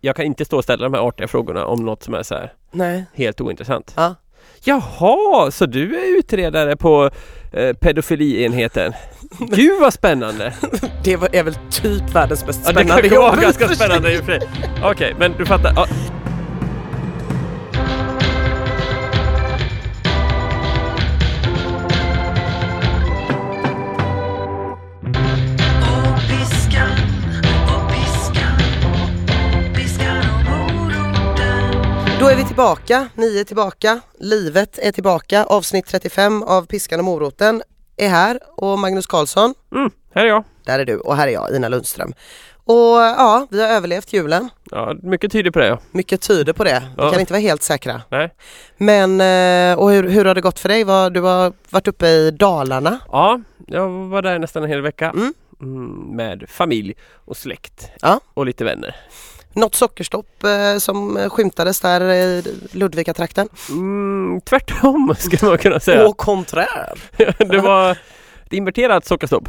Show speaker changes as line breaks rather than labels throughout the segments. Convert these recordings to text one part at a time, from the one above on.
Jag kan inte stå och ställa de här artiga frågorna om något som är så här
Nej.
helt ointressant.
Ja.
Jaha, så du är utredare på eh, pedofilienheten? Gud vad spännande!
Det var- är väl typ världens mest
Ja, det
spännande
kan ju vara
jobb.
ganska spännande i och för sig. Okej, men du fattar. Ja.
Då är vi tillbaka, ni är tillbaka, livet är tillbaka. Avsnitt 35 av Piskan och moroten är här och Magnus Karlsson,
Mm, här är jag.
där är du och här är jag, Ina Lundström. Och ja, vi har överlevt julen.
Ja, mycket tyder på det. Ja.
Mycket tyder på det. Vi
Ja.
kan inte vara helt säkra.
Nej.
Men, eh, och hur, hur har det gått för dig? Vad- Du har varit uppe i Dalarna.
ja, jag var där nästan en hel vecka.
Mm.
Mm, med familj och släkt.
Ja.
Och lite vänner.
Något sockerstopp eh, som skymtades där i Ludvika-trakten.
Mm, tvärtom skulle man kunna säga.
Och konträr.
det var ett inverterat sockerstopp.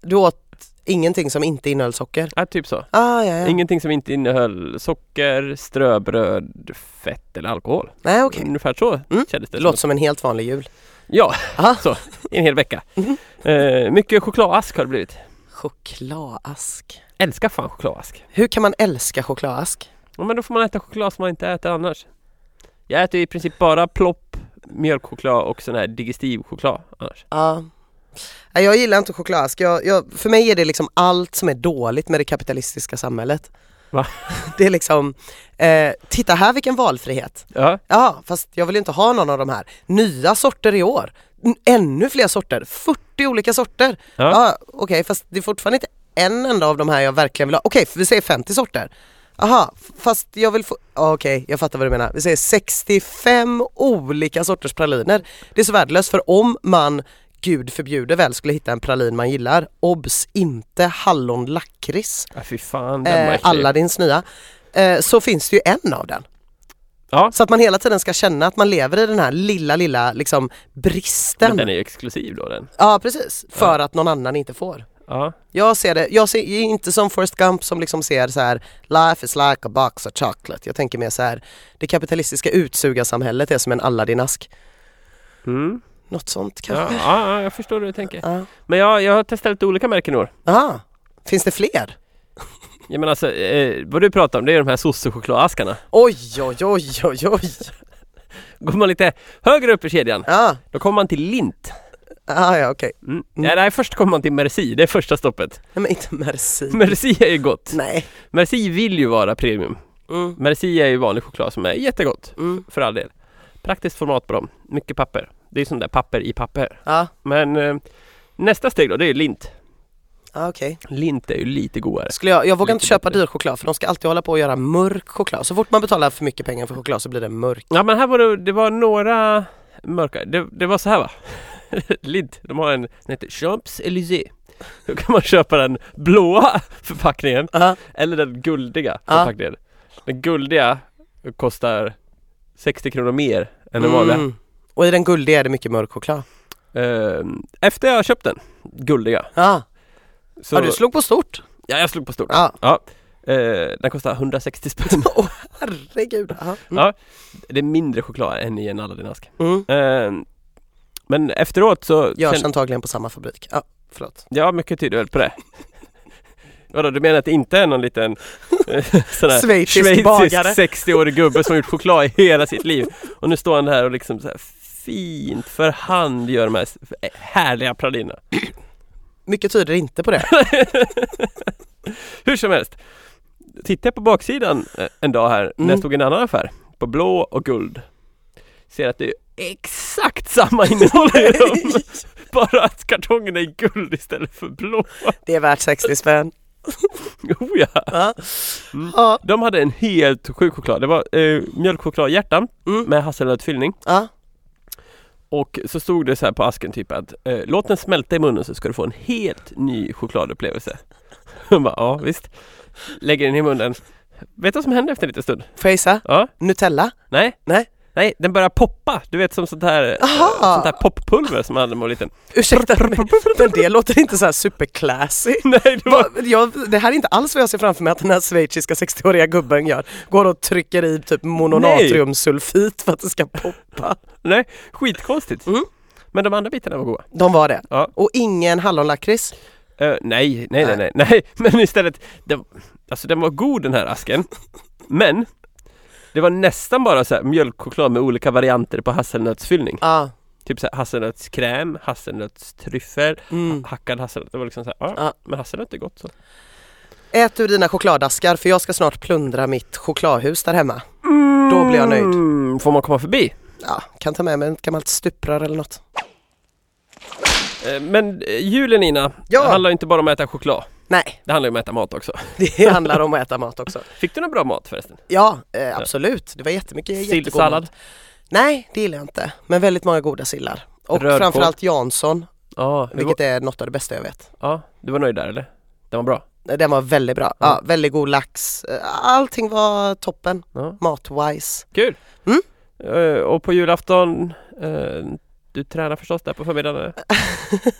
Du åt ingenting som inte innehöll socker.
Ja, typ så.
Ah, ja, ja.
Ingenting som inte innehöll socker, ströbröd, fett eller alkohol.
Nej, okej.
Ungefär så
Mm.
kändes det.
Det låter som en helt vanlig jul.
Ja,
Aha.
så. I en hel vecka.
Mhm.
Eh, mycket chokladask har det blivit.
Chokladask.
Älskar fan chokladask.
Hur kan man älska chokladask?
Ja, men då får man äta choklad som man inte äter annars. Jag äter i princip bara plopp, mjölkchoklad och sån här digestivchoklad annars.
Ja. Nej, Jag gillar inte chokladask. Jag, jag, för mig är det liksom allt som är dåligt med det kapitalistiska samhället.
Va?
Det är liksom, eh, titta här vilken valfrihet.
Ja,
Ja, fast jag vill ju inte ha någon av de här. Nya sorter i år. N- Ännu fler sorter. 40 olika sorter.
Ja.
Ja, okej, fast det är fortfarande inte en enda av de här jag verkligen vill ha. Okej, vi säger 50 sorter. Aha, f- fast jag vill få, ja, okej, jag fattar vad du menar. Vi säger 65 olika sorters praliner. Det är så värdelöst för om man, gud förbjude väl, skulle hitta en pralin man gillar, obs, inte hallonlakrits,
ja fy fan den var
eh,
äcklig.
Aladdins nya, eh, så finns det ju en av den.
Ja,
Så att man hela tiden ska känna att man lever i den här lilla, lilla liksom
men
bristen.
den är ju exklusiv då den.
Ja, precis. För att någon annan inte får.
Ja,
Jag ser det, jag ser jag är inte som Forrest Gump som liksom ser så här Life is like a box of chocolate. Jag tänker mer så här det kapitalistiska utsugarsamhället är som en Aladdin-ask.
mm.
Något sånt
ja,
kanske?
ja, ja jag förstår hur du tänker.
Ja.
Men jag, jag har testat lite olika märken i år.
Ah, finns det fler?
Jag menar alltså, eh, vad du pratar om det är de här sossechokladaskarna.
Oj, oj, oj, oj, oj.
Går man lite högre upp i kedjan,
Ja,
då kommer man till Lint.
ah, ja, okej.
Mm. Nej, nej, först kommer man till Merci, det är första stoppet.
Nej men inte merci.
Merci är ju gott.
Nej.
Merci vill ju vara premium.
Mm.
Merci är ju vanlig choklad som är jättegott,
Mm.
för all del. Praktiskt format på dem, mycket papper. Det är sånt där papper i papper.
Ja,
Men eh, nästa steg då, det är ju Lint.
ah, okej.
Lint är ju lite godare.
Skulle jag, jag vågar
Lite
inte köpa
bättre.
dyr choklad för de ska alltid hålla på och göra mörk choklad. Så fort man betalar för mycket pengar för choklad så blir det mörk.
Ja men här var det, det var några mörka, det, det var så här va? Lint, de har en, den heter Champs Élysées. Då kan man köpa den blåa förpackningen
Ja,
eller den guldiga
Ja.
förpackningen. Den guldiga kostar 60 kronor mer än den vanliga.
Mm. Och i den guldiga är det mycket mörk choklad.
Ehm, efter jag köpt den, guldiga.
Ja,
Så,
ja du slog på stort.
ja jag slog på stort.
Ja.
Ehm, den kostar 160 spänn.
Åh herregud. Ja. Mm.
Det är mindre choklad än i en Aladdin-ask.
Mm.
Ehm, men efteråt så...
Görs
kände-
antagligen på samma fabrik. Ja, förlåt.
Ja, mycket tyder väl på det. Vadå, du menar att det inte är någon liten eh, sån här
Schweizisk bagare.
60-årig gubbe som har gjort choklad i hela sitt liv och nu står han där och liksom så här fint för hand gör de här s- härliga pralinerna.
Mycket tyder inte på det.
Hur som helst, tittar jag på baksidan eh, en dag här när
Mm.
jag stod i en annan affär på blå och guld ser att det är exakt samma innehåll i dem, bara att kartongen är guld istället för blå.
Det är värt 60 spänn.
Oh ja.
Ja.
Mm.
Ja.
De hade en helt sjuk choklad. Det var eh, mjölkchokladhjärtan
Mm.
med hasselnötsfyllning.
Ja.
Och så stod det så här på asken typ att eh, låt den smälta i munnen så ska du få en helt ny chokladupplevelse. Hon bara, ja visst. Lägger den i munnen. Vet du vad som hände efter en liten stund?
Får jag gissa?
Ja,
Nutella?
nej.
Nej.
Nej, den börjar poppa. Du vet som sånt här, eh,
Aha.
sånt här poppulver som man hade när man var liten.
Ursäkta mig, men det låter inte så här superclassy.
Nej, det var...
Va- Jag, det här är inte alls vad jag ser framför mig att den här schweiziska 60-åriga gubben gör. Går och trycker i typ mononatriumsulfit för att det ska poppa.
Nej, skitkonstigt.
Mm.
Men de andra bitarna var goda.
De var det.
Ja.
Och ingen hallonlakrits.
Eh, nej, nej, nej, nej, nej. Men istället, det, alltså den var god den här asken. Men det var nästan bara så här mjölkchoklad med olika varianter på hasselnötsfyllning.
Ah,
Typ så här hasselnötskräm, hasselnötstryffel,
mm.
hackad hasselnöt. Det var liksom så här, ja,
Ja.
men hasselnöt är gott så.
Ät ur dina chokladaskar för jag ska snart plundra mitt chokladhus där hemma. Då blir jag nöjd.
Mm, Får man komma förbi?
Ja, kan ta med mig ett gammalt stuprör eller något.
Eh, Men eh, julen Ina,
Ja.
det handlar ju inte bara om att äta choklad.
Nej,
Det handlar ju om att äta mat också.
det handlar om att äta mat också.
Fick du någon bra mat förresten?
Ja, eh, absolut. Det var jättemycket jättegod mat.
Sillsallad?
Nej, det gillar jag inte. Men väldigt många goda sillar. Och
Rödkål.
framförallt Jansson,
Ja, du var,
vilket är något av det bästa jag vet.
ja, du var nöjd där eller? Den var bra?
Den var väldigt bra. Ja, väldigt god lax. Eh, Allting var toppen,
Ja.
matwise.
Kul!
Mm.
Eh, och på julafton, eh, du tränar förstås där på förmiddagen? eh? eller?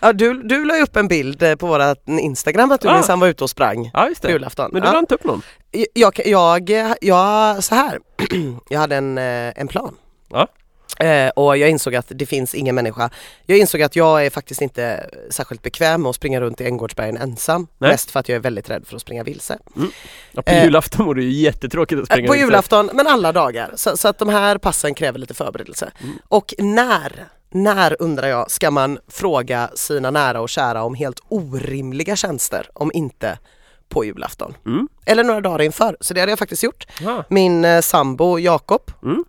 Ja, du, du la ju upp en bild eh, på vårat Instagram att du
Ah.
minsann var ute och sprang
Ja, just
på
det.
julafton.
Men du
Ja.
la inte upp någon?
jag, jag, jag, så här, jag hade en, eh, en plan.
Ja.
Eh, och jag insåg att det finns ingen människa. Jag insåg att jag är faktiskt inte särskilt bekväm med att springa runt i Änggårdsbergen ensam.
Nej.
Mest för att jag är väldigt rädd för att springa vilse.
Ja, på
Eh,
julafton vore det ju jättetråkigt att
Eh,
springa
på
ut.
julafton, men alla dagar. Så, så att de här passen kräver lite förberedelse.
Mm.
Och när, när undrar jag, ska man fråga sina nära och kära om helt orimliga tjänster? Om inte på julafton.
Mm.
Eller några dagar inför. Så det hade jag faktiskt gjort.
Ja.
Min eh, sambo Jakob
Mm.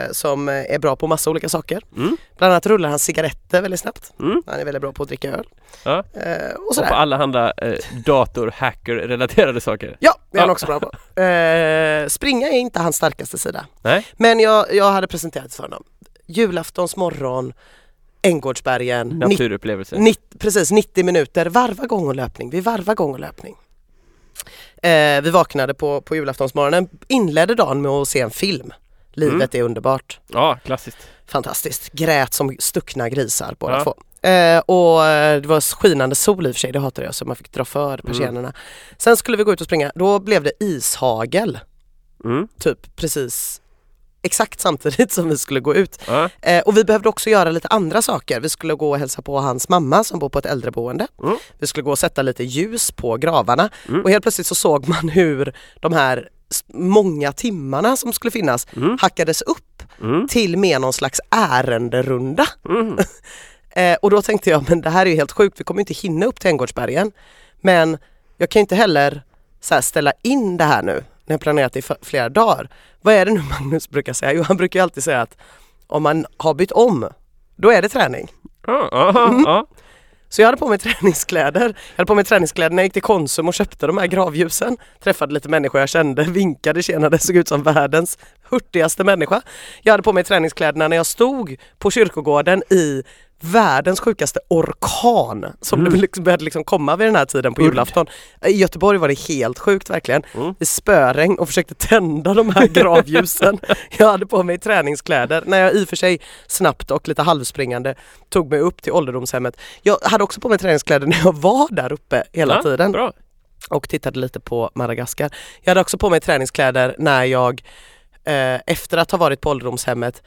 eh, som eh, är bra på massa olika saker.
Mm.
Bland annat rullar han cigaretter väldigt snabbt.
Mm.
Han är väldigt bra på att dricka öl.
Ja.
Eh, och
Och
sådär.
på alla andra eh, dator, hacker relaterade saker.
Ja, det är han
Ja.
också bra på. Eh, springa är inte hans starkaste sida.
Nej?
Men jag, jag hade presenterat för honom. Julaftons morgon, Änggårdsbergen, nitt-
Naturupplevelser.
nitt- precis 90 minuter, varva gång och löpning. Vi varvar gång och löpning. Eh, vi vaknade på, på julaftonsmorgonen, inledde dagen med att se en film. Livet
Mm.
är underbart.
Ja, klassiskt.
Fantastiskt, grät som stuckna grisar båda
Ja.
två. Eh, och eh, det var skinande sol i och för sig, det hatade jag så man fick dra för persiennerna. Sen skulle vi gå ut och springa, då blev det ishagel
Mm.
typ precis exakt samtidigt som vi skulle gå ut.
Ja.
Eh, och vi behövde också göra lite andra saker. Vi skulle gå och hälsa på hans mamma som bor på ett äldreboende.
Mm.
Vi skulle gå och sätta lite ljus på gravarna
Mm.
och helt plötsligt så såg man hur de här s- många timmarna som skulle finnas
Mm.
hackades upp
Mm.
till med någon slags ärenderunda.
Mm.
Eh, och då tänkte jag, men det här är ju helt sjukt, vi kommer ju inte hinna upp till Änggårdsbergen. Men jag kan ju inte heller så här, ställa in det här nu, när jag planerat i f- flera dagar. Vad är det nu Magnus brukar säga? Jo, han brukar ju alltid säga att om man har bytt om, då är det träning.
Ja, ja,
Mm.
ja.
Så jag hade på mig träningskläder. Jag hade på mig träningskläder när jag gick till Konsum och köpte de här gravljusen. Träffade lite människor jag kände, vinkade, tjenade, såg ut som världens hurtigaste människa. Jag hade på mig träningskläderna när jag stod på kyrkogården i världens sjukaste orkan som
Mm.
liksom började liksom komma vid den här tiden på
Urd.
julafton. I Göteborg var det helt sjukt verkligen.
Mm.
I spöregn och försökte tända de här gravljusen. jag hade på mig träningskläder när jag i och för sig snabbt och lite halvspringande tog mig upp till ålderdomshemmet. Jag hade också på mig träningskläder när jag var där uppe hela
Ja,
tiden
Bra.
och tittade lite på Madagaskar. Jag hade också på mig träningskläder när jag eh, efter att ha varit på ålderdomshemmet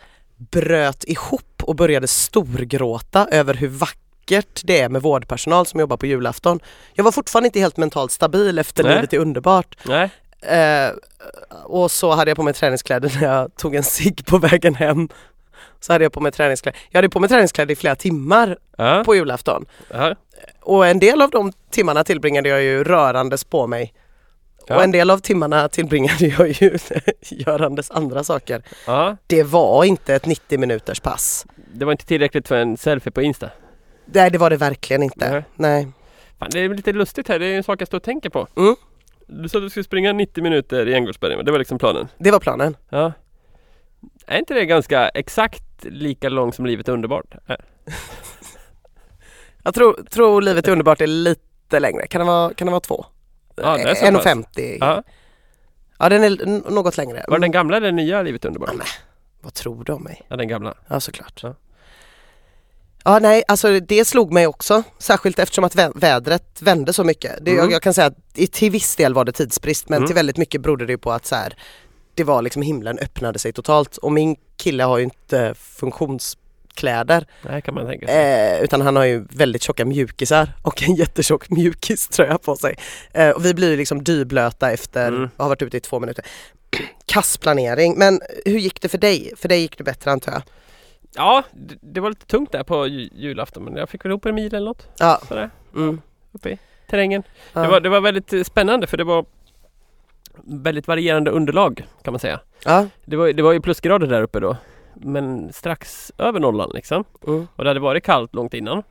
bröt ihop och började storgråta över hur vackert det är med vårdpersonal som jobbar på julafton. Jag var fortfarande inte helt mentalt stabil efter
Nej.
Livet är underbart.
Nej.
Eh, och så hade jag på mig träningskläder när jag tog en cigg på vägen hem. Så hade jag på mig träningskläder. Jag hade på mig träningskläder i flera timmar
Ja.
på julafton.
Ja.
Och en del av de timmarna tillbringade jag ju rörandes på mig.
Ja.
Och en del av timmarna tillbringade jag ju görandes andra saker.
ja.
Det var inte ett 90 minuters pass.
Det var inte tillräckligt för en selfie på Insta.
Nej det var det verkligen inte.
Nej.
Nej.
Fan, det är lite lustigt här, det är en sak jag står och tänker på.
Mm.
Du sa att du skulle springa 90 minuter i Änggårdsbergen, det var liksom planen.
Det var planen.
Ja. Är inte det ganska exakt lika lång som livet är underbart? Äh,
Jag tror, tror livet är underbart är lite längre. Kan det vara, kan det vara två?
Ja, det är så pass.
1,50.
Ja.
Ja den är n- något längre.
Var det den gamla eller den nya Livet är underbart?
Ja, men Vad tror du om mig?
Ja, den gamla.
Ja såklart.
Ja.
Ja. nej alltså det slog mig också, särskilt eftersom att vä- vädret vände så mycket. Det,
Mm.
jag, jag kan säga att i- till viss del var det tidsbrist men
Mm.
till väldigt mycket berodde det ju på att så här, det var liksom himlen öppnade sig totalt och min kille har ju inte funktionskläder
Nej, kan man tänka sig.
eh, utan han har ju väldigt tjocka mjukisar och en jättetjock mjukiströja på sig. Eh, och vi blir ju liksom dyblöta efter
Mm.
att ha varit ute i två minuter. Kass planering, men hur gick det för dig? För dig gick det bättre antar jag?
Ja, det, det var lite tungt där på ju, julafton men jag fick väl ihop en mil eller något
Ja.
sådär,
Mm.
uppe i terrängen.
Ja.
Det, var, det var väldigt eh, spännande för det var väldigt varierande underlag kan man säga.
Ja.
Det var, det var ju plusgrader där uppe då men strax över nollan liksom
Mm.
och det hade varit kallt långt innan.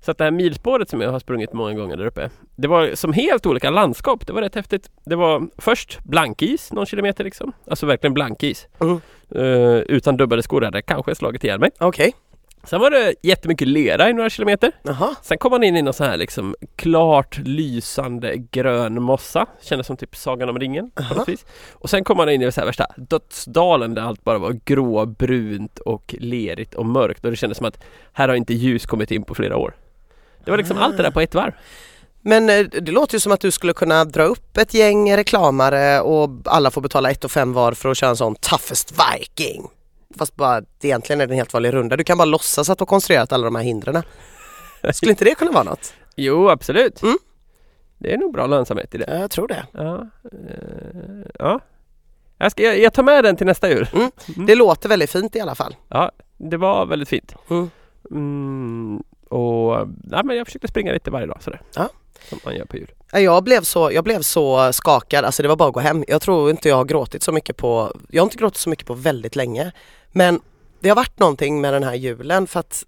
Så att det här milspåret som jag har sprungit många gånger där uppe Det var som helt olika landskap, det var rätt häftigt. Det var först blankis någon kilometer liksom, alltså verkligen blankis.
Mm.
Eh, utan dubbade skor hade jag kanske slagit ihjäl mig.
Okej.
Sen var det jättemycket lera i några kilometer.
Jaha.
Sen kom man in i någon sån här liksom klart lysande grön mossa. Kändes som typ Sagan om ringen på
Aha.
något vis. Och sen kom man in i så här värsta dödsdalen där allt bara var gråbrunt och lerigt och mörkt och det kändes som att här har inte ljus kommit in på flera år. Det var liksom
Ah.
allt det där på ett varv.
Men eh, det låter ju som att du skulle kunna dra upp ett gäng reklamare och alla får betala 1 5 var för att köra en sån toughest viking. Fast bara, det egentligen är det en helt vanlig runda. Du kan bara låtsas att du har konstruerat alla de här hindren. Skulle inte det kunna vara något?
Jo, absolut.
Mm.
Det är nog bra lönsamhet i det.
Ja, Jag tror det.
Ja. eh, ja. Jag, ska, jag, jag tar med den till nästa djur.
Det låter väldigt fint i alla fall.
Ja, det var väldigt fint.
Mm.
Mm, och nej, men jag försökte springa lite varje dag sådär.
Ja.
Som man gör på jul.
Ja, Jag blev, så, jag blev så skakad, alltså det var bara att gå hem. Jag tror inte jag har gråtit så mycket på, jag har inte gråtit så mycket på väldigt länge. Men det har varit någonting med den här julen för att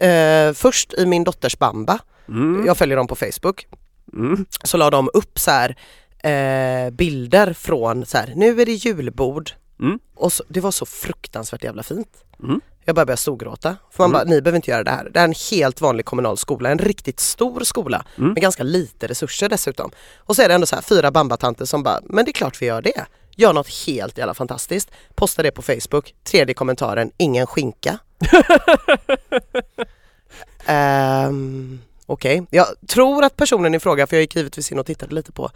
eh, först i min dotters bamba,
Mm.
jag följer dem på Facebook,
Mm.
så la de upp så här, eh, bilder från så här, nu är det julbord
Mm.
och så, det var så fruktansvärt jävla fint.
Mm.
Jag bara började storgråta. För man
Mm.
bara, ni behöver inte göra det här. Det här är en helt vanlig kommunal skola, en riktigt stor skola
Mm.
med ganska lite resurser dessutom. Och så är det ändå så här fyra bambatanter som bara, men det är klart vi gör det. Gör något helt jävla fantastiskt. Posta det på Facebook. Tredje kommentaren, ingen skinka. Ehm, Okej, jag tror att personen i fråga, för jag gick givetvis in och tittade lite på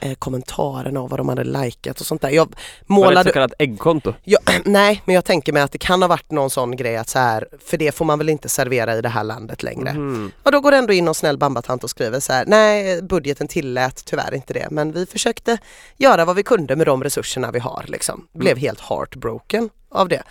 eh, kommentarerna och vad de hade likat och sånt där. Jag
Var det ett
målade
så kallat äggkonto?
Ja, nej, men jag tänker mig att det kan ha varit någon sån grej att så här, för det får man väl inte servera i det här landet längre.
Mm.
Och då går det ändå in någon snäll bambatant och skriver så här, nej budgeten tillät tyvärr inte det, men vi försökte göra vad vi kunde med de resurserna vi har liksom. Blev helt heartbroken av det.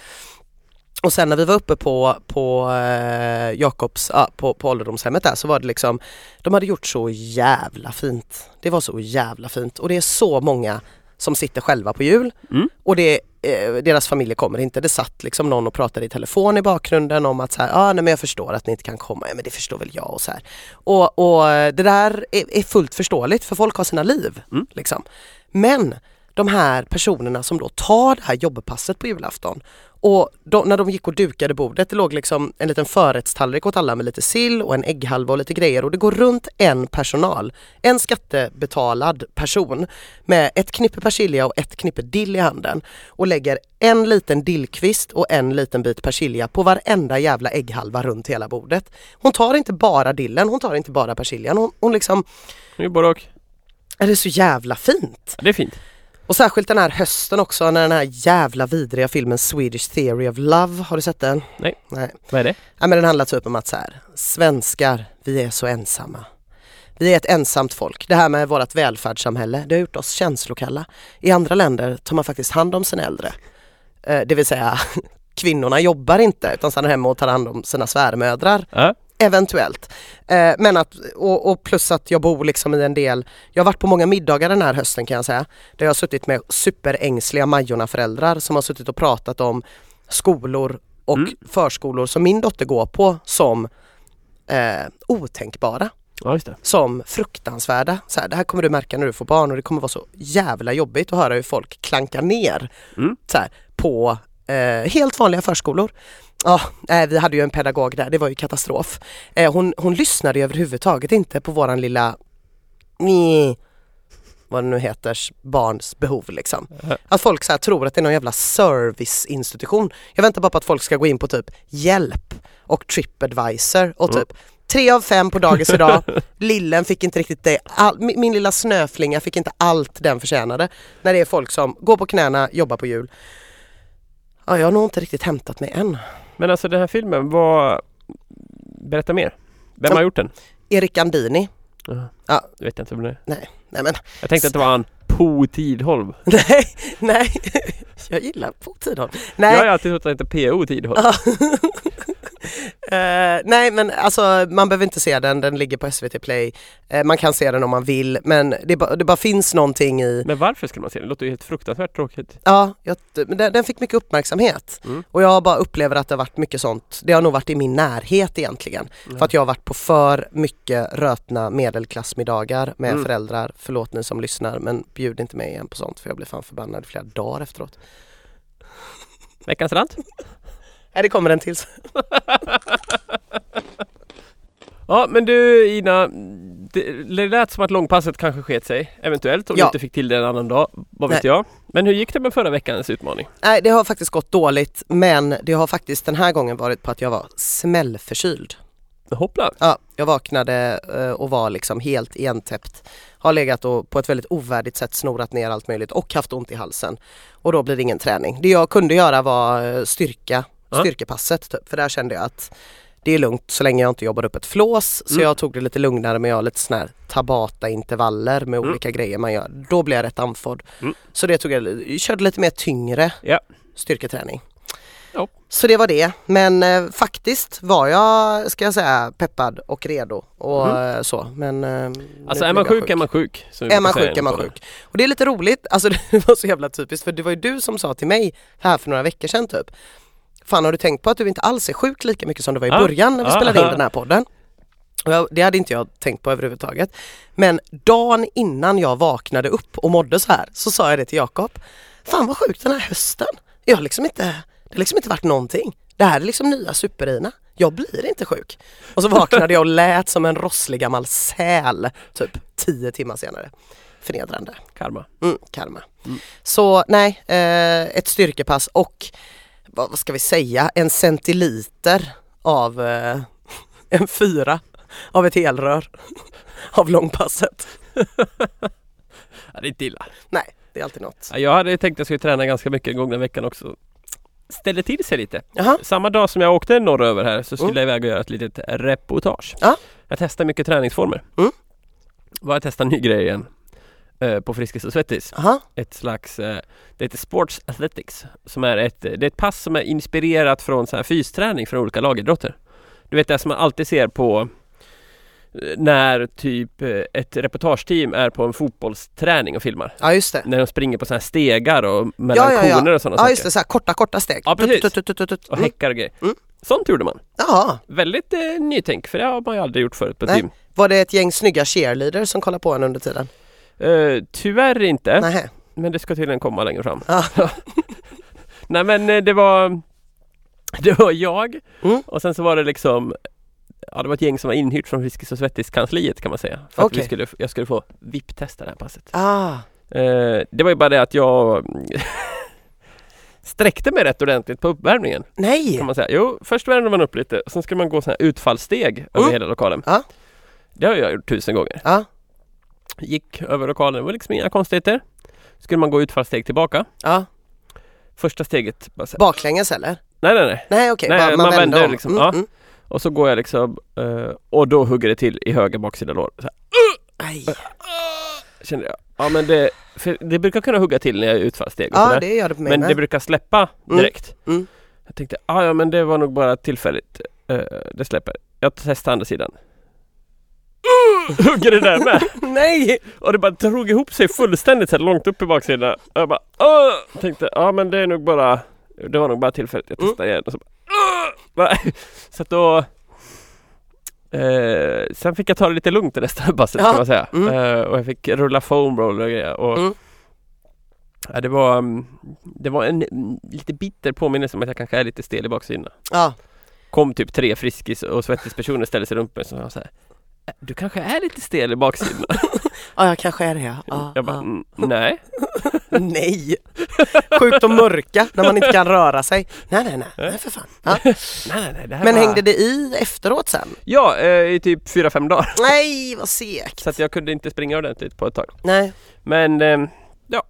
Och sen när vi var uppe på, på eh, Jakobs, ja, på, på ålderdomshemmet där så var det liksom, de hade gjort så jävla fint. Det var så jävla fint och det är så många som sitter själva på jul
Mm.
och det, eh, deras familjer kommer inte. Det satt liksom någon och pratade i telefon i bakgrunden om att så här, ah, nej men jag förstår att ni inte kan komma, ja, men det förstår väl jag och så här. Och, och eh, det där är, är fullt förståeligt för folk har sina liv.
Mm.
Liksom. Men de här personerna som då tar det här jobbpasset på julafton och de, när de gick och dukade bordet, det låg liksom en liten förrättstallrik åt alla med lite sill och en ägghalva och lite grejer och det går runt en personal, en skattebetalad person med ett knippe persilja och ett knippe dill i handen och lägger en liten dillkvist och en liten bit persilja på varenda jävla ägghalva runt hela bordet. Hon tar inte bara dillen, hon tar inte bara persiljan, hon, hon liksom,
Det är både och.
är det så jävla fint?
Ja, Det är fint.
Och särskilt den här hösten också när den här jävla vidriga filmen Swedish Theory of Love, har du sett den?
Nej.
Nej.
Vad är det?
Ja, men den handlar typ om att så här, svenskar, vi är så ensamma. Vi är ett ensamt folk. Det här med vårt välfärdssamhälle, det har gjort oss känslokalla. I andra länder tar man faktiskt hand om sina äldre. Eh, det vill säga, kvinnorna jobbar inte utan stannar hemma och tar hand om sina svärmödrar.
Ja.
Eventuellt. Eh, men att, och, och plus att jag bor liksom i en del, jag har varit på många middagar den här hösten kan jag säga, där jag har suttit med superängsliga Majorna-föräldrar som har suttit och pratat om skolor och
Mm.
förskolor som min dotter går på som eh, otänkbara,
ja, just det.
som fruktansvärda. Så här, det här kommer du märka när du får barn och det kommer vara så jävla jobbigt att höra hur folk klankar ner
Mm.
så här, på eh, helt vanliga förskolor. Ja, nej, vi hade ju en pedagog där, det var ju katastrof. Eh, hon, hon lyssnade ju överhuvudtaget inte på våran lilla... Nej. vad det nu heter, barns behov liksom.
Ja.
Att folk så här tror att det är någon jävla serviceinstitution. Jag väntar bara på att folk ska gå in på typ hjälp och tripadvisor och
Mm.
typ tre av fem på dagis idag, lillen fick inte riktigt det, all, min, min lilla snöflinga fick inte allt den förtjänade. När det är folk som går på knäna, jobbar på jul. Ja, jag har nog inte riktigt hämtat mig än.
Men alltså den här filmen, vad... Berätta mer. Vem
Ja.
har gjort den?
Erik Andini. Ja.
Det vet jag inte vem det är.
Nej men,
Jag tänkte att det var han Po Tidholm.
nej, nej. Jag gillar på Tidholm. Nej,
Jag har alltid trott att det heter PO Tidholm.
Ja. Eh, nej men alltså man behöver inte se den, den ligger på SVT Play. Eh, man kan se den om man vill men det, ba, det bara finns någonting i,
Men varför skulle man se den? Det låter ju helt fruktansvärt tråkigt.
ja, jag, men den, den fick mycket uppmärksamhet.
Mm.
Och jag bara upplever att det har varit mycket sånt, det har nog varit i min närhet egentligen. För att jag har varit på för mycket rötna medelklassmiddagar med
Mm.
föräldrar. Förlåt ni som lyssnar men bjud inte mig igen på sånt för jag blir fan förbannad i flera dagar efteråt.
Veckans rant?
Nej det kommer en till.
Ja men du Ina, det, det lät som att långpasset kanske sket sig. Eventuellt om
Ja.
du inte fick till det en annan dag. Vad vet jag. Men hur gick det med förra veckans utmaning?
Nej det har faktiskt gått dåligt men det har faktiskt den här gången varit på att jag var smällförkyld.
Hoppla!
Ja, jag vaknade eh, och var liksom helt igentäppt. Har legat och på ett väldigt ovärdigt sätt snorat ner allt möjligt och haft ont i halsen. Och då blir det ingen träning. Det jag kunde göra var eh, styrka,
Ja.
styrkepasset typ. För där kände jag att det är lugnt så länge jag inte jobbar upp ett flås. Så
Mm.
jag tog det lite lugnare med jag lite sådana här Tabata-intervaller med olika grejer man gör. Då blev jag rätt andfådd.
Mm.
Så det tog jag, körde lite mer tyngre
Ja.
styrketräning.
Ja.
Så det var det. Men eh, faktiskt var jag, ska jag säga, peppad och redo och eh, så. Men, eh,
Mm. Alltså
nu
är man
blev jag
sjuk är man sjuk. som vi
Är man
brukar säga
sjuk är man
på det.
sjuk. Och det är lite roligt, alltså det var så jävla typiskt för det var ju du som sa till mig här för några veckor sedan typ. Fan har du tänkt på att du inte alls är sjuk lika mycket som du var i
Ja.
början när vi
Ja.
spelade in den här podden? Och jag- Det hade inte jag tänkt på överhuvudtaget. Men dagen innan jag vaknade upp och mådde så här så sa jag det till Jakob. Fan vad sjukt den här hösten. Jag har liksom inte, det har liksom inte varit någonting. Det här är liksom nya superina. Jag blir inte sjuk. Och så vaknade jag och lät som en rosslig gammal säl typ tio timmar senare. Förnedrande.
Karma.
Mm, karma. Så nej, eh, ett styrkepass och vad, vad ska vi säga, en centiliter av eh, en fyra av ett helrör av långpasset.
Ja, det är inte illa.
Nej, det är alltid något.
Ja, Jag hade tänkt att jag skulle träna ganska mycket den gångna veckan också. Ställde till sig lite.
Jaha,
Samma dag som jag åkte norröver här så skulle
Mm.
jag iväg och göra ett litet reportage.
Ja.
Jag testar mycket träningsformer.
Mm.
Var jag testar en ny grej igen. eh, På Friskis och Svettis.
jaha,
Ett slags, eh, det heter Sports Athletics. Som är ett, eh, det är ett pass som är inspirerat från så här fysträning från olika lagidrotter. Du vet det som man alltid ser på eh, när typ eh, ett reportageteam är på en fotbollsträning och filmar.
ja just det.
När de springer på sådana här stegar och mellan
ja, ja.
koner och sådana
Ja
saker.
just det, så här korta korta steg.
Ja, precis.
Tut, tut, tut, tut, tut.
Och
Mm.
häckar och grejer.
Mm.
Sånt gjorde man.
Jaha,
Väldigt eh, nytänk, för det har man ju aldrig gjort förut på
Nej.
gym.
var det ett gäng snygga cheerleaders som kollade på en under tiden?
Eh, tyvärr inte,
Nej.
men det ska tydligen komma längre fram.
Ja.
Nej men eh, det var Det var jag
Mm.
och sen så var det liksom Ja det var ett gäng som var inhyrt från Friskis och Svettis-kansliet kan man säga. För att vi
Okej.
skulle, jag skulle få VIP-testa det här passet.
Ah,
Eh, det var ju bara det att jag sträckte mig rätt ordentligt på uppvärmningen. kan
nej.
man säga. Jo, först värmde man upp lite och sen ska man gå sådana här utfallssteg över
Mm.
hela lokalen.
Ja.
Det har jag gjort tusen gånger.
Ja.
Gick över lokalen, det var liksom inga konstigheter. Skulle man gå utfallssteg tillbaka.
Ja.
Första steget, bara så här,
Baklänges eller?
nej nej nej.
Nej okej,
Nej,
bara-
man vänder
om.
liksom,
Mm,
ja.
mm.
Och så går jag liksom eh, och då hugger det till i höger baksida lår. Så här,
Aj.
kände jag. Ja men det, för det brukar kunna hugga till när jag är utfallssteg och
Ja
sådär.
det gör det på mig
Men
med.
det brukar släppa
Mm.
direkt.
Mm.
Jag tänkte, ah, ja men det var nog bara tillfälligt. Eh, det släpper. Jag testar andra sidan. Hugger det där med!
Nej!
Och det bara drog ihop sig fullständigt så här, långt upp i baksidan. Och jag bara Åh! Tänkte, ja ah, men det är nog bara Det var nog bara tillfälligt.
Mm.
Jag testar igen. Och så, bara, "Åh!" så att då eh, Sen fick jag ta det lite lugnt i resten av passet
Ja.
kan man säga.
Mm.
Eh, och jag fick rulla foam roller och grejer. Och,
Mm.
ja, det var mm, Det var en mm, lite bitter påminnelse om att jag kanske är lite stel i baksidan
Ja,
kom typ tre Friskis och Svettis personer ställde sig runt mig och så sa jag så här du kanske är lite stel i baksidan.
Ja, jag kanske är det. Ja. Ja,
jag bara,
ja.
"Mm, nej.
Nej! Sjukt och mörka när man inte kan röra sig. Nej, nej, nej, nej för fan. Ja.
nej, nej, nej det här
Men
var...
hängde det i efteråt sen?
Ja, eh, i typ fyra fem dagar.
Nej, vad segt.
Så att jag kunde inte springa ordentligt på ett tag.
Nej,
Men eh, ja,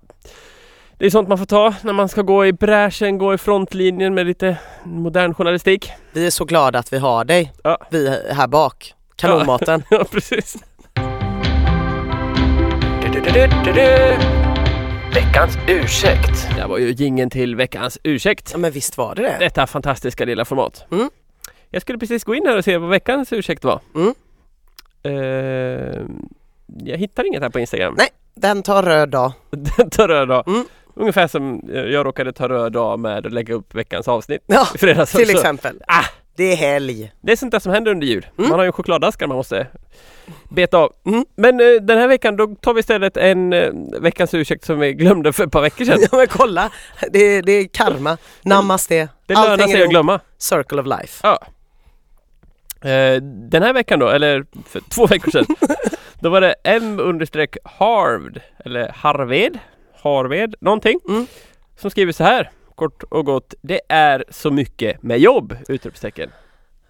det är sånt man får ta när man ska gå i bräschen, gå i frontlinjen med lite modern journalistik.
vi är så glada att vi har dig.
Ja.
Vi här bak. Kanonmaten.
Ja, precis. Veckans ursäkt. Det här var ju gingen till veckans ursäkt.
Ja, men visst var det det?
Detta fantastiska lilla format.
Mm.
Jag skulle precis gå in här och se vad veckans ursäkt var.
Mm.
Eh, jag hittar inget här på Instagram.
Nej, den tar röd dag.
ta röd dag.
Mm.
Ungefär som eh, jag råkade ta röd dag med att lägga upp veckans avsnitt
Ja,
i fredags.
till
Så-
exempel.
Ah.
Det är helg.
Det är sånt där som händer under jul.
Mm.
Man har ju en chokladaskar man måste beta av.
Mm.
Men eh, den här veckan då tar vi istället en eh, veckans ursäkt som vi glömde för ett par veckor sedan.
Ja, men kolla. Det är, det är karma. Namaste.
Det lönar
Allting är
sig att
ihop.
glömma.
Circle of life.
Eh, Den här veckan då, eller för två veckor sedan, då var det M understreck Harved, eller Harved, Harved, någonting,
Mm.
som skriver så här, kort och gott, det är så mycket med jobb! Utropstecken.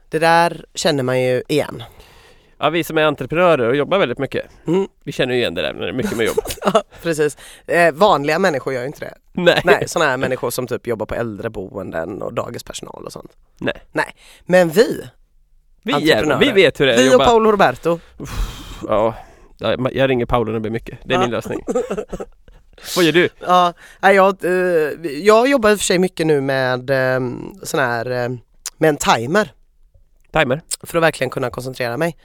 Det där känner man ju igen.
Ja, vi som är entreprenörer och jobbar väldigt mycket,
Mm.
vi känner ju igen det där när det är mycket med jobb.
Ja, precis. Eh, vanliga människor gör ju inte det.
Nej.
Nej, sådana här människor som typ jobbar på äldreboenden och dagispersonal och sånt.
Nej.
Nej, men vi,
Vi, är,
Entreprenörer.
vi vet hur det är att
vi och
jobba.
Paolo Roberto.
Ja, ja, ma- jag ringer Paolo när det blir mycket. Det är min
Ja.
lösning. Vad gör du?
Ja, nej, jag, eh, jag jobbar i och för sig mycket nu med eh, sån här, eh, med en timer
Timer?
för att verkligen kunna koncentrera mig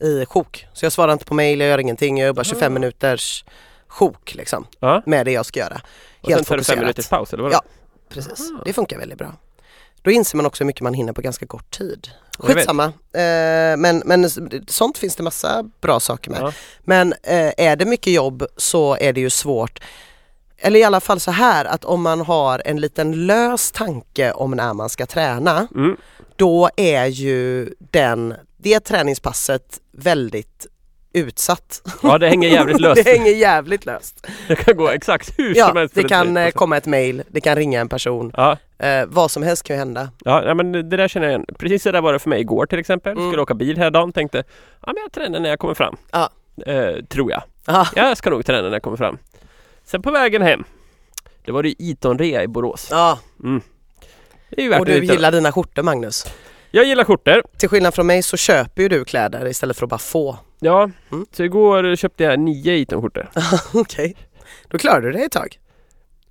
i sjok. Så jag svarar inte på mail, jag gör ingenting, jag jobbar 25
Ah.
minuters sjok liksom
Ja.
med det jag ska göra.
Ah. Och sen
Helt
tar du fem
fokuserat.
minuters paus eller vad?
Ja. Precis,
Ah.
det funkar väldigt bra. Då inser man också hur mycket man hinner på ganska kort tid.
Jag vet.
Skitsamma, eh, men, men s- sånt finns det massa bra saker med.
Ja.
Men eh, är det mycket jobb så är det ju svårt. Eller i alla fall så här att om man har en liten lös tanke om när man ska träna,
Mm.
då är ju den, det träningspasset väldigt utsatt.
ja, det hänger jävligt löst.
det hänger jävligt löst.
Det kan gå exakt hur som
Ja,
helst.
det
för ett
kan
snitt.
eh, komma ett mail, det kan ringa en person,
Ja,
eh, vad som helst kan ju hända.
ja nej, men det där känner jag igen. Precis det där var det för mig igår till exempel.
Mm.
Skulle åka bil här dagen, tänkte ja men jag tränar när jag kommer fram.
Ja.
Eh, tror jag.
Ja.
Jag ska nog träna när jag kommer fram. Sen på vägen hem, det var det ju Eton-rea i Borås.
Ja,
Det är ju värt
och
att
du
utdela.
gillar dina skjortor Magnus.
Jag gillar skjortor.
Till skillnad från mig så köper ju du kläder istället för att bara få.
Ja,
Mm.
så igår köpte jag nio Eton-skjortor.
Okej, då klarar du det ett tag.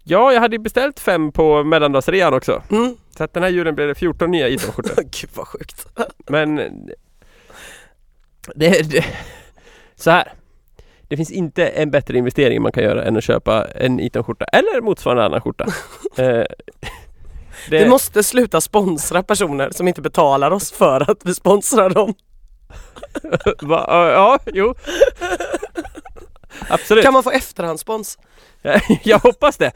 Ja, jag hade ju beställt fem på mellandagsrean också.
Mm.
Så att den här julen blev det 14 nya Eton-skjortor.
Gud vad sjukt.
Men det, det, så här. Det finns inte en bättre investering man kan göra än att köpa en Eton-skjorta eller motsvarande annan skjorta. Eh, det,
Vi måste sluta sponsra personer som inte betalar oss för att vi sponsrar dem.
va, ja, ja, jo. Absolut.
Kan man få efterhandsspons?
Jag hoppas det.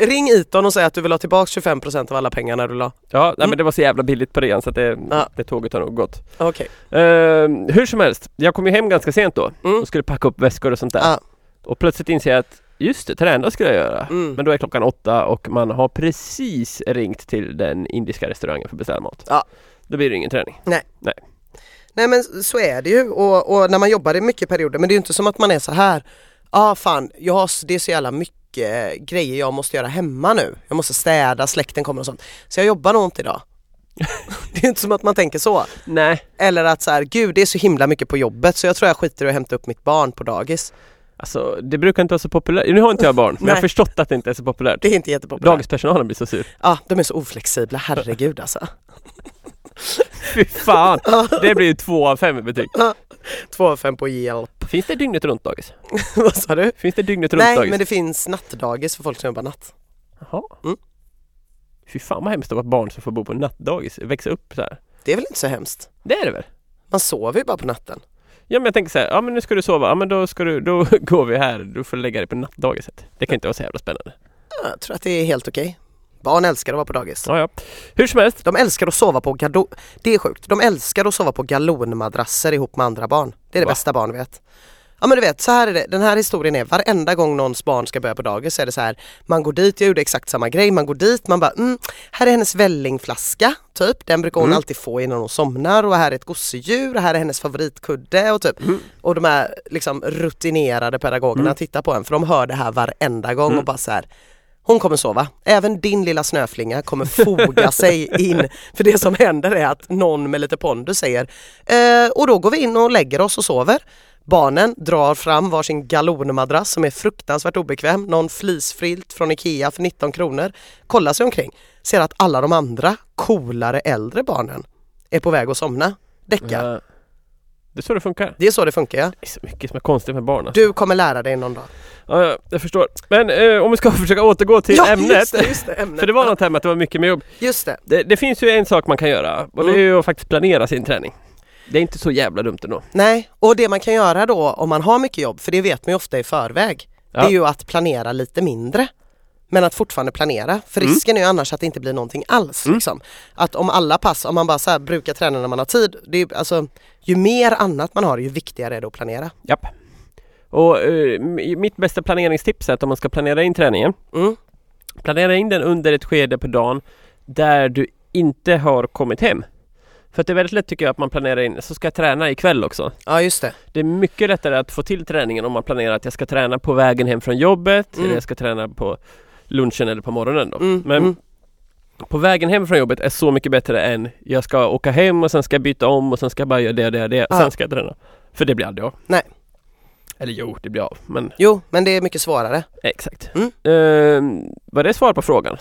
Ring Iton och säg att du vill ha tillbaka 25% av alla pengarna du la.
Ja, nej, men
Mm.
det var så jävla billigt på rean så att det,
Ja.
det tåget har nog gått.
Okej.
Eh, hur som helst, jag kom ju hem ganska sent då
Mm.
och skulle packa upp väskor och sånt där.
Ja.
Och plötsligt inser jag att just det, träna skulle jag göra.
Mm.
Men då är klockan åtta och man har precis ringt till den indiska restaurangen för att beställa mat.
Ja.
Då blir det ingen träning.
Nej men så är det ju och, och när man jobbar i mycket perioder men det är ju inte som att man är så här. Ja ah, fan, jag har, s- det är så jävla mycket grejer jag måste göra hemma nu. Jag måste städa, släkten kommer och sånt. Så jag jobbar nog inte idag. det är ju inte som att man tänker så.
Nej,
Eller att så här, gud det är så himla mycket på jobbet så jag tror jag skiter i att hämta upp mitt barn på dagis.
alltså det brukar inte vara så populärt. Nu har inte jag barn, men jag har
Nej.
förstått att det inte är så populärt.
Det är inte jättepopulärt.
Dagispersonalen blir så sur.
Ja, de är så oflexibla, herregud alltså.
Fy fan! Det blir ju två av fem i betyg.
Två av fem på hjälp.
Finns det dygnet runt dagis?
Vad sa du?
Finns det dygnet runt
Nej,
dagis?
men det finns nattdagis för folk som jobbar natt.
Jaha.
Mm.
Fy fan vad hemskt att vara barn som får bo på nattdagis, växa upp så här.
Det är väl inte så hemskt?
Det är det väl?
Man sover ju bara på natten.
Ja men jag tänker så här, ja men nu ska du sova, ja men då ska du, då går vi här, du får lägga dig på nattdagiset. Det kan inte vara så jävla spännande.
Ja, Jag tror att det är helt okej. Barn älskar att vara på dagis.
Ja, ja. Hur som helst.
De älskar att sova på gado- Det är sjukt. De älskar att sova på galonmadrasser ihop med andra barn. Det är det
Va?
bästa barn vet. Ja men du vet, så här är det. Den här historien är varenda gång någons barn ska börja på dagis så är det så här. Man går dit, jag gjorde exakt samma grej. Man går dit, man bara mm, här är hennes vällingflaska typ. Den brukar hon
Mm.
alltid få innan hon somnar och här är ett gosedjur och här är hennes favoritkudde och typ. Och de här liksom rutinerade pedagogerna tittar på en för de hör det här varenda gång och bara så här. Hon kommer sova. Även din lilla snöflinga kommer foga sig in. För det som händer är att någon med lite pondus säger eh, och då går vi in och lägger oss och sover. Barnen drar fram varsin galonmadrass som är fruktansvärt obekväm, någon fleecefilt från Ikea för 19 kronor. Kollar sig omkring, ser att alla de andra coolare äldre barnen är på väg att somna. Däckar.
Ja. Det är så det funkar.
Det är så det funkar ja.
Det är så mycket som är konstigt med barn. alltså.
Du kommer lära dig någon dag.
Ja, ja, jag förstår. Men eh, om vi ska försöka återgå till
ja,
ämnet.
Just det, just det, ämnet.
För det var något här med att det var mycket med jobb.
Just det.
Det, det finns ju en sak man kan göra och det är
Mm.
ju att faktiskt planera sin träning. Det är inte så jävla dumt ändå.
Nej, och det man kan göra då om man har mycket jobb, för det vet man ju ofta i förväg,
Ja.
det är ju att planera lite mindre. Men att fortfarande planera, för
Mm.
risken är ju annars att det inte blir någonting alls. Liksom. Att om alla pass, om man bara så här brukar träna när man har tid, det är, ju- alltså, ju mer annat man har ju viktigare är det att planera.
Japp. Och eh, m- mitt bästa planeringstips är att om man ska planera in träningen,
Mm.
planera in den under ett skede på dagen där du inte har kommit hem. För att det är väldigt lätt tycker jag att man planerar in, så ska jag träna ikväll också.
Ja just det.
Det är mycket lättare att få till träningen om man planerar att jag ska träna på vägen hem från jobbet
Mm.
eller jag ska träna på lunchen eller på morgonen då.
Mm,
Men
mm.
på vägen hem från jobbet är så mycket bättre än jag ska åka hem och sen ska jag byta om och sen ska jag bara göra det och det och det och
Ja.
sen ska jag träna. För det blir aldrig av.
Nej.
Eller jo, det blir av. Men
Jo, men det är mycket svårare.
exakt.
Mm.
Ehm, var det svar på frågan?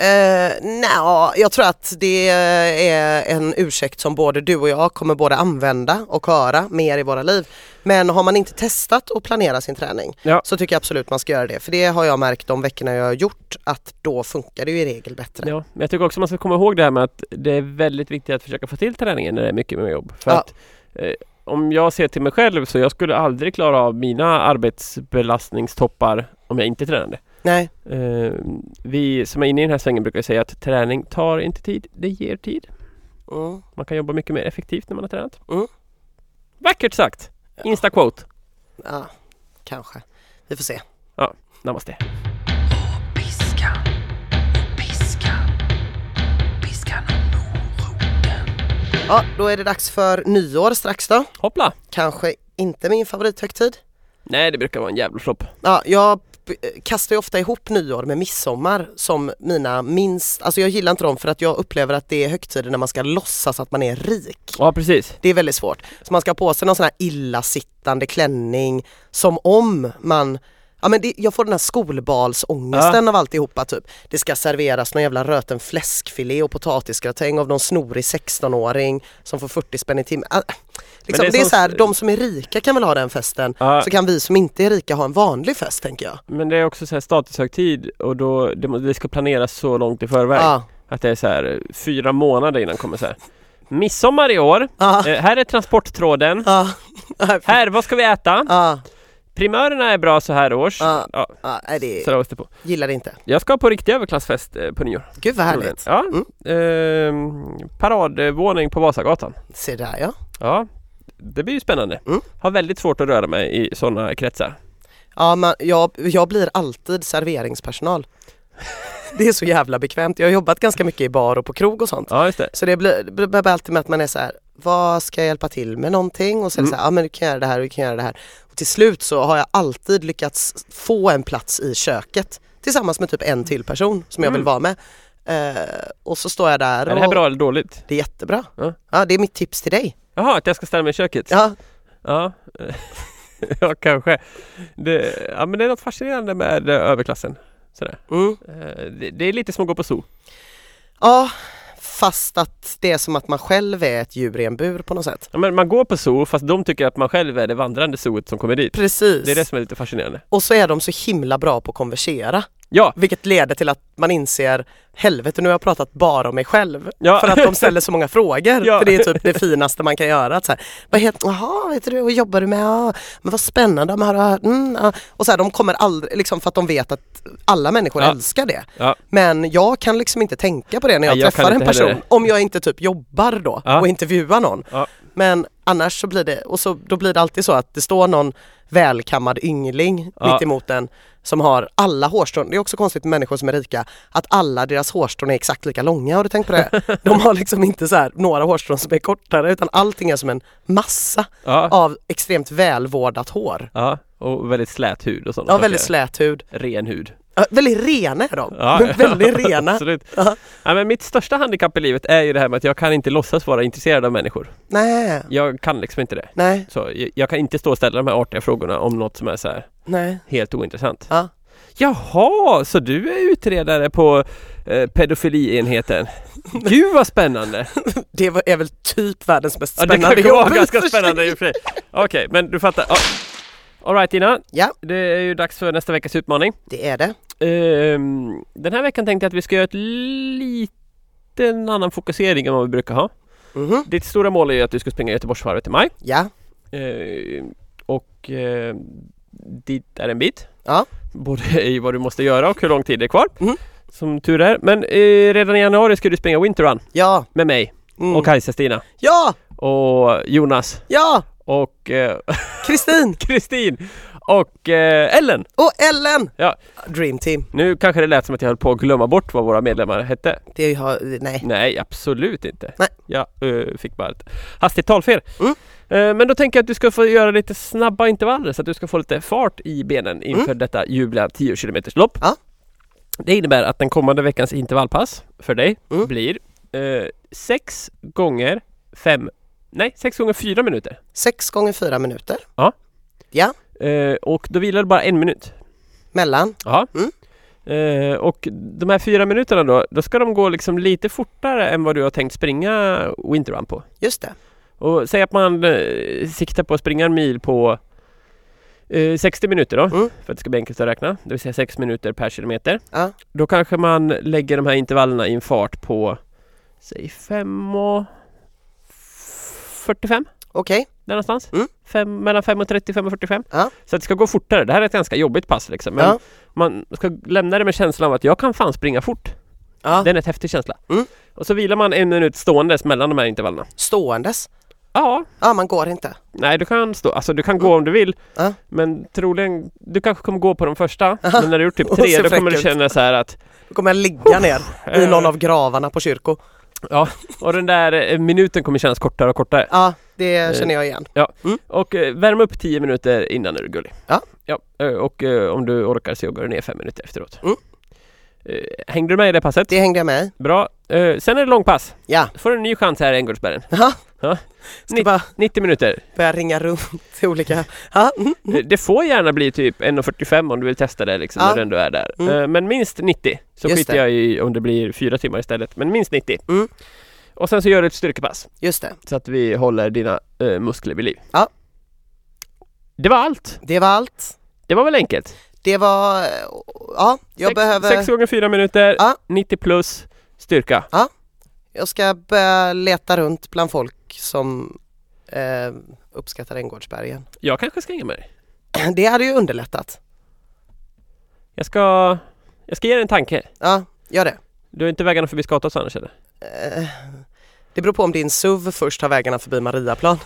Uh, Nja, jag tror att det är en ursäkt som både du och jag kommer både använda och höra mer i våra liv. Men har man inte testat att planera sin träning
Ja.
så tycker jag absolut man ska göra det. För det har jag märkt de veckorna jag har gjort att då funkar det ju i regel bättre.
Ja, men jag tycker också man ska komma ihåg det här med att det är väldigt viktigt att försöka få till träningen när det är mycket med jobb. För
Ja.
att eh, om jag ser till mig själv så jag skulle aldrig klara av mina arbetsbelastningstoppar om jag inte tränade.
Nej,
Eh, vi som är inne i den här svängen brukar säga att träning tar inte tid, det ger tid.
mm.
Man kan jobba mycket mer effektivt när man har tränat.
Mm.
Vackert sagt! Insta-quote.
ja, kanske. Vi får se.
Namaste.
Piskan, piskan, piskan och moroten.
Ja, då är det dags för nyår strax då.
Hoppla!
Kanske inte min favorithögtid.
Nej, det brukar vara en jävla flopp.
Ja, jag p- kastar ju ofta ihop nyår med midsommar som mina minst, alltså jag gillar inte dem för att jag upplever att det är högtider när man ska låtsas att man är rik.
Ja, precis.
Det är väldigt svårt. Så man ska ha på sig någon sån här illasittande klänning som om man Ja men det, jag får den här skolbalsångesten av alltihopa typ. Det ska serveras någon jävla röten fläskfilé och potatisgratäng av någon snorig 16-åring som får 40 spänn i timmen. Ah, Liksom,
det
det
är
är,
sån-
så här, de som är rika kan väl ha den festen
Ja.
så kan vi som inte är rika ha en vanlig fest tänker jag.
Men det är också så här statushögtid och då det, må- det ska planeras så långt i förväg.
Ja.
Att det är så här eh, fyra månader innan kommer så här. Midsommar i år.
Ja,
Eh, här är transporttråden.
ja, ja,
Här, vad ska vi äta?
ja,
Primörerna är bra så här års.
ja,
Ja,
ja, nej, det
så där års det på.
gillar det inte.
Jag ska på riktig överklassfest eh, på nyår.
Gud vad härligt.
Ja.
Mm.
Ehm, paradvåning på Vasagatan.
Se där ja.
Ja, det blir ju spännande.
Mm.
Har väldigt svårt att röra mig i sådana kretsar.
ja man, jag, jag blir alltid serveringspersonal. Det är så jävla bekvämt. Jag har jobbat ganska mycket i bar och på krog och sånt.
Ja, just det.
Så det blir, det blir alltid med att man är så här, vad ska jag hjälpa till med någonting? Och så är det så
Mm.
här, ja men du kan göra det här och du kan göra det här. Och till slut så har jag alltid lyckats få en plats i köket tillsammans med typ en till person som jag vill vara med. Eh, och så står jag där
Är Mm. det här
och
bra eller dåligt?
det är jättebra.
Ja.
Ja, det är mitt tips till dig.
Jaha, att jag ska ställa mig i köket?
Ja,
Ja, ja kanske. Det, ja, men det är något fascinerande med eh, överklassen. Sådär.
Mm.
Eh, Det, det är lite som att gå på zoo.
Ja, fast att det är som att man själv är ett djur i en bur på något sätt.
Ja, men man går på zoo fast de tycker att man själv är det vandrande zooet som kommer dit.
Precis.
Det är det som är lite fascinerande.
Och så är de så himla bra på att konversera.
Ja,
Vilket leder till att man inser, helvete nu har jag pratat bara om mig själv.
Ja.
För att de ställer så många frågor.
Ja.
För det är typ det finaste man kan göra. Att så här, vad heter, jaha, vet du, vad jobbar du med? Ja, men vad spännande, ja, men har du hört? Mm, ja. Och så här, de kommer aldrig, liksom för att de vet att alla människor
Ja.
älskar det.
ja,
Men jag kan liksom inte tänka på det när jag,
Nej, jag
träffar
kan
en
inte heller
person. Om jag inte typ jobbar då
Ja.
och intervjuar någon.
Ja.
Men annars så blir det, och så, då blir det alltid så att det står någon välkammad yngling
Ja.
mitt emot en som har alla hårstrån. Det är också konstigt med människor som är rika att alla deras hårstrån är exakt lika långa. Har du tänkt på det? De har liksom inte så här några hårstrån som är kortare utan allting är som en massa
ja,
av extremt välvårdat hår.
ja. Och väldigt slät hud och sånt. Alltså,
Ja, väldigt slät hud.
Ren hud.
Ja, väldigt rena är de.
Ja,
väldigt rena.
Absolut.
Ja.
Ja, men mitt största handikapp i livet är ju det här med att jag kan inte låtsas vara intresserad av människor.
Nej,
Jag kan liksom inte det.
nej,
Så jag, jag kan inte stå och ställa de här artiga frågorna om något som är så här
nej.
helt ointressant.
Ja.
Jaha, så du är utredare på eh, pedofilienheten? Gud vad spännande!
Det var- är väl typ världens mest
Ja, det
spännande
kanske var
jobb i
ganska
och för sig.
spännande i och för sig. Okej, men du fattar. Ja. Alright Ina,
Ja.
det är ju dags för nästa veckas utmaning.
Det är det.
Ehm, den här veckan tänkte jag att vi ska göra ett liten annan fokusering än vad vi brukar ha.
Mhm.
Ditt stora mål är ju att du ska springa Göteborgsvarvet i maj.
Ja,
Ehm, och eh, dit är en bit.
Ja.
Både i vad du måste göra och hur lång tid det är kvar.
Mhm.
Som tur är. Men eh, redan i januari ska du springa Winter Run
ja,
med mig
mm.
och Kajsa-Stina
ja,
och Jonas
ja,
och eh,
Kristin
Kristin och eh, Ellen.
och Ellen.
Ja.
Dream team.
Nu kanske det lät som att jag höll på att glömma bort vad våra medlemmar hette.
Det har, nej.
Nej, absolut inte.
Nej.
Jag eh, fick bara ett hastigt talfel.
Mm.
Eh, men då tänker jag att du ska få göra lite snabba intervaller så att du ska få lite fart i benen inför detta ljuvliga 10 km lopp.
Mm. Ja.
Det innebär att den kommande veckans intervallpass för dig
Mm.
blir 6 gånger 5 Nej, 6 gånger 4 minuter.
Sex gånger fyra minuter
Eh, och då vilar du bara en minut.
mellan.
Ja.
Mm.
Eh, och de här fyra minuterna då, då ska de gå liksom lite fortare än vad du har tänkt springa Winterrun på.
Just det.
Och säg att man eh, siktar på att springa en mil på eh, 60 minuter då,
Mm.
för att det ska bli enkelt att räkna, det vill säga 6 minuter per kilometer.
Ja.
Då kanske man lägger de här intervallerna i en fart på säg 5 och 45
Okej,
där någonstans.
Mm.
Fem, mellan 5 och 30, 5 och 45.
Ja.
Så att det ska gå fortare. Det här är ett ganska jobbigt pass liksom. Men
Ja.
man ska lämna det med känslan av att jag kan fan springa fort.
Ja.
Det är en rätt häftig känsla.
Mm.
Och så vilar man en minut ståendes mellan de här intervallerna.
ståendes.
Ja,
Ja, man går inte.
nej du kan stå, alltså du kan gå om du vill.
Ja.
Men troligen, du kanske kommer gå på de första. Men när du gjort typ tre,
Och
då
så
kommer du
fräck
känna så här att
Då kommer jag ligga ner i
eh,
någon av gravarna på kyrko.
Ja, och den där eh, minuten kommer kännas kortare och kortare.
Ja,
Eh.
det känner jag igen.
Och eh, värm upp 10 minuter innan är du gullig.
Ja.
ja eh, och eh, om du orkar så går du ner 5 minuter efteråt.
Mm.
Eh, hängde du med i det passet?
Det hängde jag med i.
Bra. Eh, sen är det långpass.
Ja.
Får du en ny chans här i Änggårdsbergen.
Ja.
Ja.
Ska bara
90 minuter.
börja ringa runt till olika... Ja, mm.
Eh, Det får gärna bli typ 1.45 om du vill testa det liksom
Ja.
när du ändå är där.
Mm.
Eh, Men minst 90. Så
Just
skiter
det.
jag i om det blir fyra timmar istället. Men minst 90.
Mm.
Och sen så gör du ett styrkepass.
Just det.
Så att vi håller dina eh, muskler vid liv.
Ja.
Det var allt.
Det var allt.
Det var väl enkelt?
Det var... Ja, jag
sex,
behöver...
sex gånger fyra minuter,
Ja.
90 plus, styrka.
Jag ska börja leta runt bland folk som eh, uppskattar Änggårdsbergen.
Jag kanske ska hänga med dig.
Det hade ju underlättat.
Jag ska, jag ska ge dig en tanke.
Ja, gör det.
Du är inte vägarna förbi Skatås annars eller?
Eh, det beror på om din SUV först har vägarna förbi Mariaplan.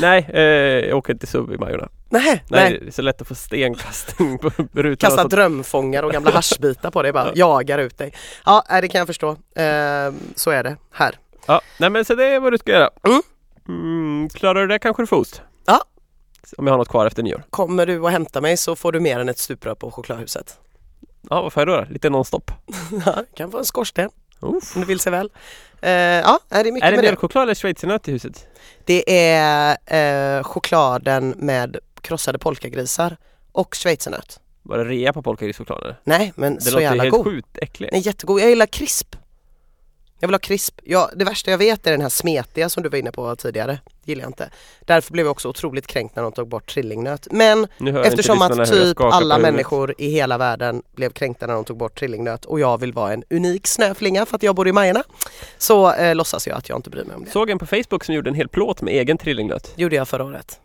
Nej, eh, jag åker inte SUV i Majorna.
Nej,
Nej,
nej.
det är så lätt att få stenkastning på rutan.
Kasta drömfångar och gamla haschbitar på dig bara, jagar ut dig. Ja, nej, det kan jag förstå. Eh, så är det här.
ja, nej men så det är vad du ska göra.
Mm.
Mm, klarar du det kanske du får host.
Ja.
Om jag har något kvar efter nyår.
Kommer du och hämta mig så får du mer än ett stuprör på chokladhuset.
Ja, vad får jag då? då? Lite nonstop.
Ja, kan få en skorsten
Uff.
om du vill sig väl. Eh, ja, nej, det är mycket
Är det
med det.
mjölkchoklad eller schweizernöt i huset?
Det är eh, chokladen med krossade polkagrisar och schweizernöt.
Var det rea på polkagrischokladen?
Nej men
Det
så
låter ju
jävla
helt
god.
sjukt äckligt.
Nej jättegod. Jag gillar krisp. Jag vill ha krisp. Ja, det värsta jag vet är den här smetiga som du var inne på tidigare. Det gillar jag inte. Därför blev jag också otroligt kränkt när de tog bort trillingnöt. Men
Nu hör
eftersom
inte lyssnarna
att
hur jag
typ
skakar på
alla
huvudet.
människor i hela världen blev kränkta när de tog bort trillingnöt och jag vill vara en unik snöflinga för att jag bor i Majerna. Så eh, låtsas jag att jag inte bryr mig om det.
Såg en på Facebook som gjorde en hel plåt med egen trillinglöt.
Gjorde jag förra året.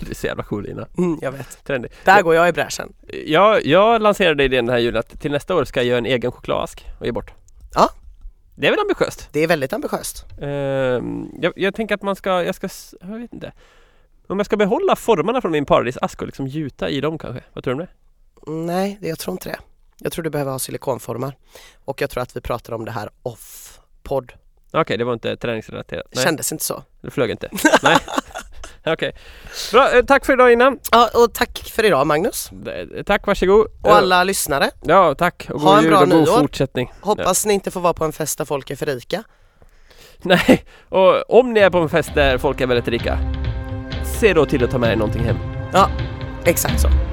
Det är så jävla cool Lina.
Mm, jag vet.
Trendig.
Där går jag i bräschen.
Jag, jag lanserade idén den här julen att till nästa år ska jag göra en egen chokladask och ge bort.
Ja.
Det är väl ambitiöst?
Det är väldigt ambitiöst.
Ehm, jag, jag tänker att man ska, jag ska, s- jag vet inte. Om jag ska behålla formarna från min paradisask och liksom gjuta i dem kanske? Vad tror du om det?
Nej, det- jag tror inte det. Jag tror du behöver ha silikonformar. Och jag tror att vi pratade om det här off podd.
Okej, det var inte träningsrelaterat. Nej,
Kändes inte så.
det flög inte. Nej. Okej. Bra, eh, tack för idag innan.
Ja, och tack för idag Magnus.
Eh, Tack, varsågod. Eh,
Och alla lyssnare.
Ja, tack. Och
Ha
god
en
jul
bra
och god
nyår.
fortsättning.
Hoppas ni inte får vara på en fest där folk är för rika.
Nej, och om ni är på en fest där folk är väldigt rika, se då till att ta med er någonting hem.
Ja, exakt så.